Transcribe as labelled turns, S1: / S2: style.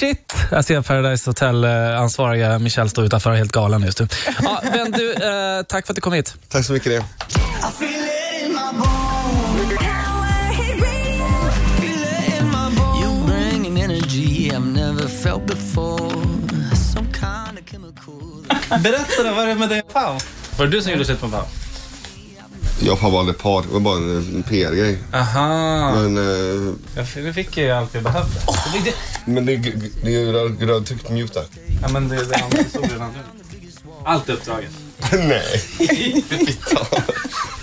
S1: Shit! Jag ser Paradise Hotel-ansvariga Michelle stå utanför helt galen just nu. Ja, men du, eh, tack för att du kom hit.
S2: Tack så mycket det.
S3: I feel it in my bones.
S4: Power Hit Radio.
S3: Feel it in my bones. You bring an energy I've never felt before. Some kind of chemical.
S5: Berätta då, vad är det med dig och Pau? Var det du som gjorde slut med Pau?
S2: Jag och pappa var aldrig par, det var bara en, en PR-grej.
S5: Aha,
S2: Men, eh,
S5: jag f- nu fick jag ju allt jag behövde. Det var ju det.
S2: men det är g- g- det är ju röd- gröntryckt mjuk där.
S5: Ja, men det, det andra såg redan du. Allt uppdraget.
S2: Nej. Fy fan.